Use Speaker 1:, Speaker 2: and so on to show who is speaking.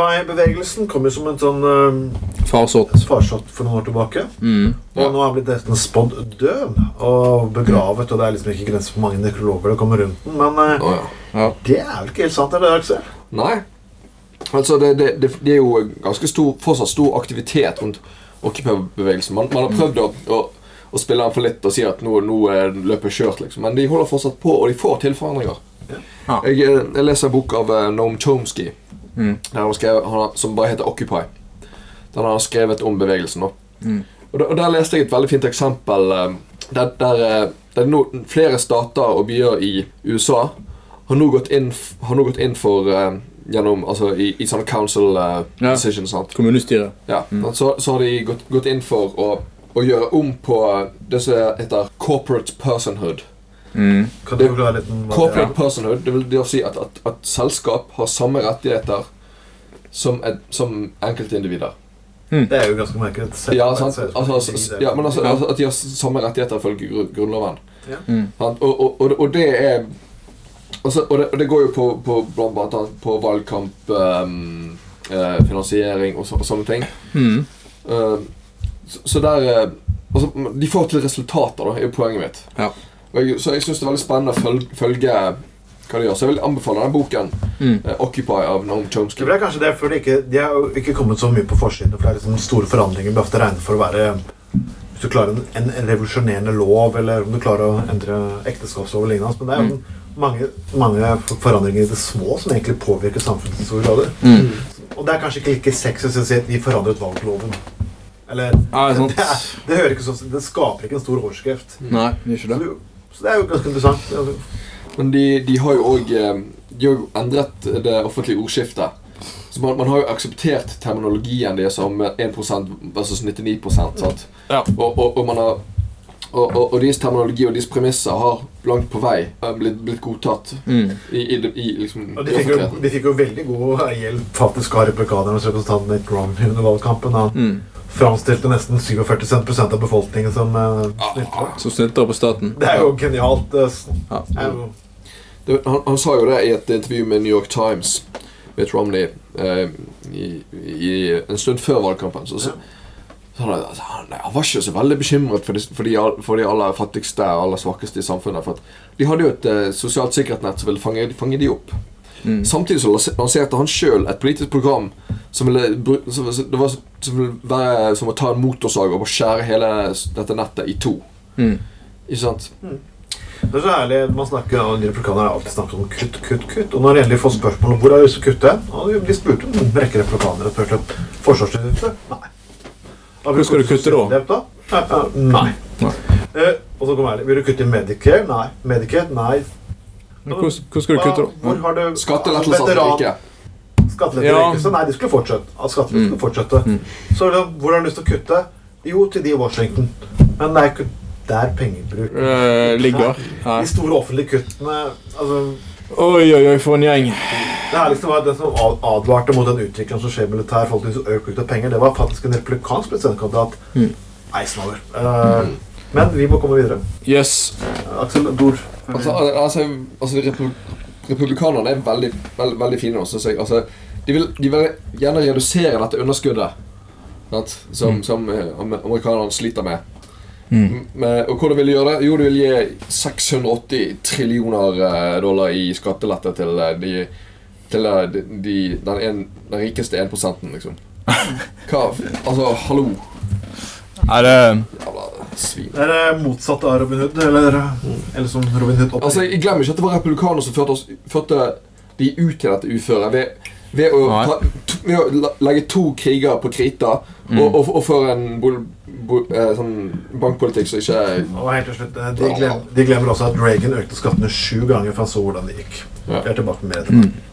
Speaker 1: Occupy-bevegelsen kom jo som en sånn eh,
Speaker 2: Farsott.
Speaker 1: farsott for noen år tilbake.
Speaker 2: Mm.
Speaker 1: Og nå er han blitt nesten spådd død og begravet, og det er liksom ikke grenser for hvor mange nekrologer det kommer rundt den. Men eh,
Speaker 3: Å, ja.
Speaker 2: Ja.
Speaker 1: det er vel ikke helt sant, er det, Aksel?
Speaker 3: Nei. Altså, det, det, det, det er jo ganske stor, fortsatt stor aktivitet rundt Occupy-bevegelsen. Man, man har prøvd å, å, å spille den for litt og si at nå, nå er løpet kjørt, liksom. Men de holder fortsatt på, og de får til forandringer.
Speaker 2: Ja.
Speaker 3: Jeg, eh, jeg leser en bok av eh, Noam Chomsky
Speaker 2: Mm.
Speaker 3: der han skrev, han, har- som bare heter Occupy. Den har han skrevet om bevegelsen. da.
Speaker 2: Mm.
Speaker 3: Og, der, og Der leste jeg et veldig fint eksempel eh, der, der, eh, der nå flere stater og byer i USA har nå gått inn, f- har nå gått inn for eh, gjennom, altså i, i sånne council eh,
Speaker 2: Ja. Mm.
Speaker 3: decisions. Sant?
Speaker 2: Kommunestyret.
Speaker 3: Ja. Så, så har de gått, gått inn for å, å gjøre om på det som heter corporate personhood.
Speaker 2: Mm.
Speaker 1: Kan du forklare litt om hva det
Speaker 3: Corporate
Speaker 1: er?
Speaker 3: personhood, det vil det å si at, at, at selskap har samme rettigheter som, et, som enkeltindivider.
Speaker 1: Det er jo ganske merkelig.
Speaker 3: Ja, sant? Altså, altså, ja, men altså, altså at de har samme rettigheter ifølge gru- Grunnloven.
Speaker 1: Ja.
Speaker 2: Mm.
Speaker 3: Sant? Og, og, og, og det er altså, og, det, og det går jo på, på blant blant annet på valgkamp, ehm, eh, finansiering og, så, og sånne ting.
Speaker 2: Mm.
Speaker 3: Eh, så, så der eh, altså, De får til resultater, da, er jo poenget mitt.
Speaker 2: Ja.
Speaker 3: Og jeg, så jeg syns det er veldig spennende å følge, følge hva de gjør. Så jeg vil anbefale denne boken,
Speaker 2: Mm.
Speaker 3: eh, 'Occupy' av Noam
Speaker 1: Det
Speaker 3: Chomsky.
Speaker 1: er kanskje det, for de, ikke, de har jo ikke kommet så mye på forsiden. For det er liksom store forandringer blir ofte regnet for å være Hvis du klarer en, en revolusjonerende lov, eller om du klarer å endre ekteskapslov og lignende. altså, Men det er jo mange, mange forandringer i det små som egentlig påvirker samfunnet i store grader.
Speaker 2: Mm.
Speaker 1: Og det er kanskje ikke like sexy å si at vi forandret valgloven. Eller
Speaker 2: Ja, det er sant.
Speaker 1: Det, er, det hører ikke sånn Det skaper ikke en stor overskrift.
Speaker 2: Nei, det er
Speaker 1: Så
Speaker 2: ikke det.
Speaker 1: det, så det er jo ganske interessant.
Speaker 3: Men de, de har jo eh, òg endret det offentlige ordskiftet. Så man, man har jo akseptert terminologien deres som 1 versus 99 sant?
Speaker 2: Ja.
Speaker 3: Og, og, og man har og, og, og deres terminologi og deres premisser har langt på vei eh, blitt, blitt godtatt
Speaker 2: Mm.
Speaker 3: i, i, det- i liksom
Speaker 1: Og
Speaker 3: i
Speaker 1: de fikk, jo,
Speaker 3: offentligheten.
Speaker 1: de fikk jo veldig god hjelp faktisk av republikanernes representant Mitt Romney under valgkampen. Han
Speaker 2: Mm.
Speaker 1: framstilte nesten 47 prosent av befolkningen som eh,
Speaker 2: Ah.
Speaker 1: snyltere.
Speaker 2: Som snylter på staten.
Speaker 1: Det er jo genialt. eh, s-
Speaker 2: Ja.
Speaker 1: er jo,
Speaker 3: Det, han, han sa jo det i et intervju med New York Times Mitt Romney eh, i, i, en stund før valgkampen. Så, så, så han, altså, han, nei, han var ikke så veldig bekymret for de, for, de, all- for de aller fattigste og aller svakeste i samfunnet. For at de hadde jo et eh, sosialt sikkerhetsnett som ville fange, fange de opp.
Speaker 2: Mm.
Speaker 3: Samtidig så lanse- lanserte han sjøl et politisk program som ville, bru- som, som- det var, som ville være som å ta en motorsag og bare skjære hele s- dette nettet i to.
Speaker 2: Mm.
Speaker 3: Ikke sant?
Speaker 1: Det er så herlig. Man snakker ja, de Republikanere har alltid snakket om kutt, kutt, kutt. Og når de endelig får spørsmål om hvor er det skal kutte, og de blir spurt om en rekke republikanere spør om Forsvarsutgifter? Nei.
Speaker 2: Hvor skal du kutte da?
Speaker 1: Sosialhjelp da? Eh, eh, Nei.
Speaker 2: Nei.
Speaker 1: Eh, og så kommer ærlig. Vil du kutte i Medicare? Nei. Medicaid? Nei.
Speaker 2: Men Hvor, hvor skal du kutte,
Speaker 1: Hva- Hvor
Speaker 2: da?
Speaker 1: har du
Speaker 3: Skattelettelser til
Speaker 1: Veteran-
Speaker 3: rike.
Speaker 1: Skattelette
Speaker 2: Ja.
Speaker 1: rikeste? Nei, de skulle fortsette. At skattelette
Speaker 3: Mm.
Speaker 1: skulle fortsette. Så da, hvor har du lyst til å kutte? Jo, til de i Washington. Men det er ikke der pengebruk
Speaker 2: Eh, ligger. Nei.
Speaker 1: De store offentlige kuttene altså,
Speaker 2: Oi, oi, oi, for en gjeng.
Speaker 1: Det her liksom var Den som ad- advarte mot den utviklingen som skjer i militær forhold til økt bruk av penger, det var faktisk en republikansk presidentkandidat.
Speaker 2: Mm.
Speaker 1: Eisenhower. Eh,
Speaker 3: Mm.
Speaker 1: Men vi må komme videre.
Speaker 2: Yes.
Speaker 1: Aksel, et ord. før vi-
Speaker 3: Altså, al- altså, altså repu- Republikanerne er veldig, veld, veldig fine nå, synes jeg. Altså, de, vil, de vil gjerne redusere dette underskuddet sant? som, som eh, amer- amerikanerne sliter med. M- med- og hvordan vil de gjøre det? Jo, de vil gi 680 trillioner eh, dollar i skattelette til, eh, de, til eh, de, de, den, en, den rikeste 1 liksom. Hva Altså, hallo,
Speaker 2: Er det
Speaker 3: jævla svin.
Speaker 1: Det er det motsatte av Robin Hood, eller, eller som Robin Hood opp.
Speaker 3: Altså, jeg glemmer ikke at det var republikanere som førte, oss, førte de ut til dette uføret ved, ved, å,
Speaker 2: Nei.
Speaker 3: ta, t- ved å la- legge to kriger på krita og, og, og føre en bol, bol, eh, sånn bankpolitikk som ikke er
Speaker 1: Og helt til slutt, eh, de, glem, de glemmer også at Reagan økte skattene sju ganger for han så hvordan det gikk.
Speaker 2: Mm.
Speaker 3: Ja.
Speaker 1: Vi er tilbake med det.